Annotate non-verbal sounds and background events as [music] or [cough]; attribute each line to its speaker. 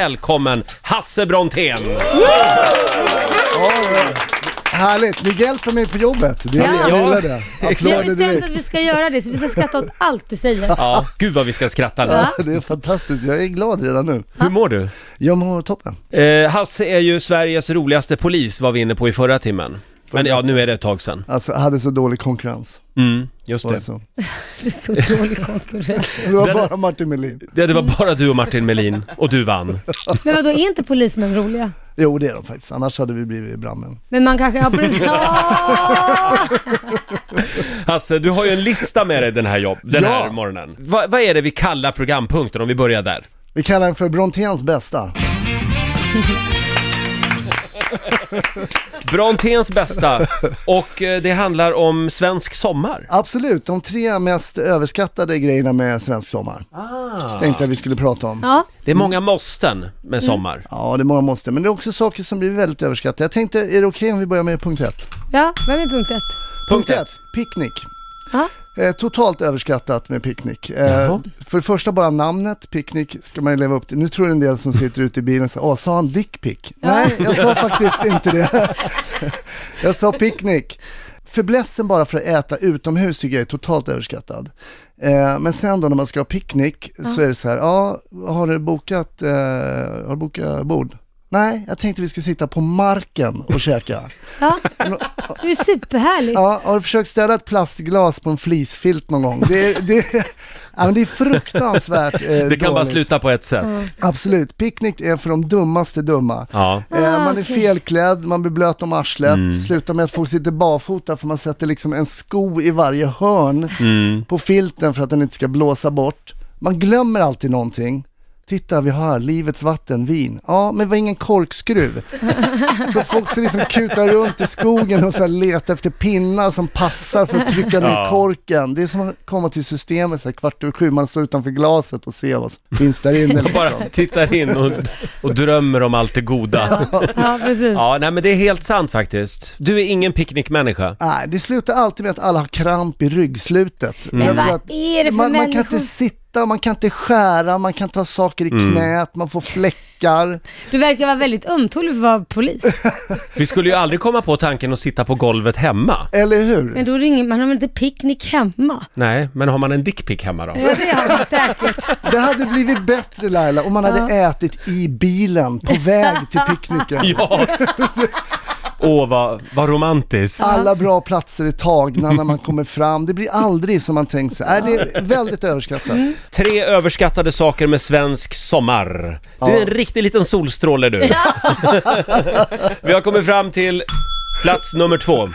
Speaker 1: Välkommen Hasse Brontén!
Speaker 2: Härligt, ni hjälper mig på jobbet. Det,
Speaker 3: Ja.
Speaker 2: Jag gillar det.
Speaker 3: Vi har
Speaker 2: Applåder
Speaker 3: bestämt att
Speaker 2: direkt.
Speaker 3: vi ska göra det, så vi ska skratta åt allt du säger.
Speaker 1: Ja, gud vad vi ska skratta nu.
Speaker 2: Ja, det är fantastiskt, jag är glad redan nu.
Speaker 1: Hur mår du?
Speaker 2: Jag mår toppen.
Speaker 1: Eh, Hasse är ju Sveriges roligaste polis var vi inne på i förra timmen. Men ja, nu är det ett tag sedan.
Speaker 2: Alltså, jag hade så dålig konkurrens.
Speaker 1: Mm, just
Speaker 2: Var det,
Speaker 1: det.
Speaker 2: så.
Speaker 3: Det är så dålig konkurrens.
Speaker 2: det var
Speaker 1: Den-
Speaker 2: bara Martin Melin.
Speaker 1: Ja, det var bara du och Martin Melin och du vann.
Speaker 3: Men vadå, är inte polismän roliga?
Speaker 2: Jo, det är de faktiskt. Annars hade vi blivit brandmän.
Speaker 3: Men man kanske...
Speaker 2: [laughs]
Speaker 3: Ja, precis. Ja!
Speaker 1: Hasse, du har ju en lista med dig den här jobb, den
Speaker 2: Ja.
Speaker 1: här morgonen. Va, vad är det vi kallar programpunkten om vi börjar där?
Speaker 2: Vi kallar den för Bronténs bästa.
Speaker 1: Bronténs bästa och eh, det handlar om svensk sommar.
Speaker 2: Absolut, de tre mest överskattade grejerna med svensk sommar. Tänkte jag vi skulle prata om.
Speaker 3: Ah. ja.
Speaker 1: Det är många måsten med sommar.
Speaker 2: Ja, det är många måste, men det är också saker som blir väldigt överskattade. Jag tänkte, är det okej om vi börjar med punkt ett?
Speaker 3: ja. vem är punkt ett?
Speaker 1: Punkt ett.
Speaker 2: Picknick.
Speaker 3: Ja.
Speaker 2: Eh, totalt överskattat med picknick. Eh,
Speaker 1: Jaha.
Speaker 2: för det första bara namnet, picknick, ska man ju leva upp till. Nu tror en del som sitter ute i bilen så åh, sa han dickpick? Nej, jag sa faktiskt inte det. [laughs] jag sa picknick. Fäblessen bara för att äta utomhus tycker jag är totalt överskattad. Eh, men sen då när man ska ha picknick så är det så här, ja, har du bokat, eh, har du bokat bord? Nej, jag tänkte vi ska sitta på marken och käka.
Speaker 3: Ja. Det är ju superhärligt.
Speaker 2: Ja, har du försökt ställa ett plastglas på en flisfilt någon gång? Det, är- det, är- ja, men det är fruktansvärt eh,
Speaker 1: Det kan bara
Speaker 2: dåligt. Mm.
Speaker 1: sluta på ett sätt.
Speaker 2: Absolut, picknick är för de dummaste dumma.
Speaker 1: Ja. Mm.
Speaker 2: Eh,
Speaker 3: Ah,
Speaker 2: man är
Speaker 3: okej.
Speaker 2: felklädd, man blir blöt om arslet, slutar med att folk sitter barfota för man sätter liksom en sko i varje hörn
Speaker 1: Mm.
Speaker 2: på filten för att den inte ska blåsa bort. Man glömmer alltid någonting. Titta, vi har här, livets vatten, vin. Ja, men det var ingen
Speaker 3: [laughs]
Speaker 2: korkskruv. så folk så liksom kutar runt i skogen och så här letar efter pinnar som passar för att trycka ner
Speaker 1: Ja.
Speaker 2: korken. Det är som att komma till systemet så här kvart över sju, man står utanför glaset och ser vad som finns där inne. Liksom.
Speaker 1: [laughs] Bara tittar in och, och drömmer om allt det goda.
Speaker 3: Ja, precis.
Speaker 1: Ja, nej men det är helt sant faktiskt. Du är ingen picknickmänniska.
Speaker 2: Nej, det slutar alltid med att alla har kramp i ryggslutet.
Speaker 3: Mm. Men
Speaker 2: Därför
Speaker 3: vad
Speaker 2: att
Speaker 3: är det för
Speaker 2: man, man kan
Speaker 3: människor?
Speaker 2: inte sitta, man kan inte skära, man kan ta saker i knät, man får fläckar.
Speaker 3: Du verkar vara väldigt ömtålig för att vara polis.
Speaker 1: Vi skulle ju aldrig komma på tanken att sitta på golvet hemma.
Speaker 2: Eller hur?
Speaker 3: Men då ringer man, har väl inte
Speaker 2: [laughs]
Speaker 3: picknick hemma?
Speaker 1: Nej, men har man en dickpick hemma då?
Speaker 3: Ja, det har man säkert.
Speaker 2: Det hade blivit bättre Laila om man hade ätit i bilen på väg till picknicken.
Speaker 1: Ja! Åh, vad, vad romantiskt.
Speaker 2: Alla bra platser är tagna när man kommer fram. Det blir aldrig som man tänkt sig. Nej, det är väldigt överskattat.
Speaker 3: Mm.
Speaker 1: Tre överskattade saker med svensk sommar. Du är en riktig liten [laughs] solstråle du. Vi har kommit fram till plats nummer två.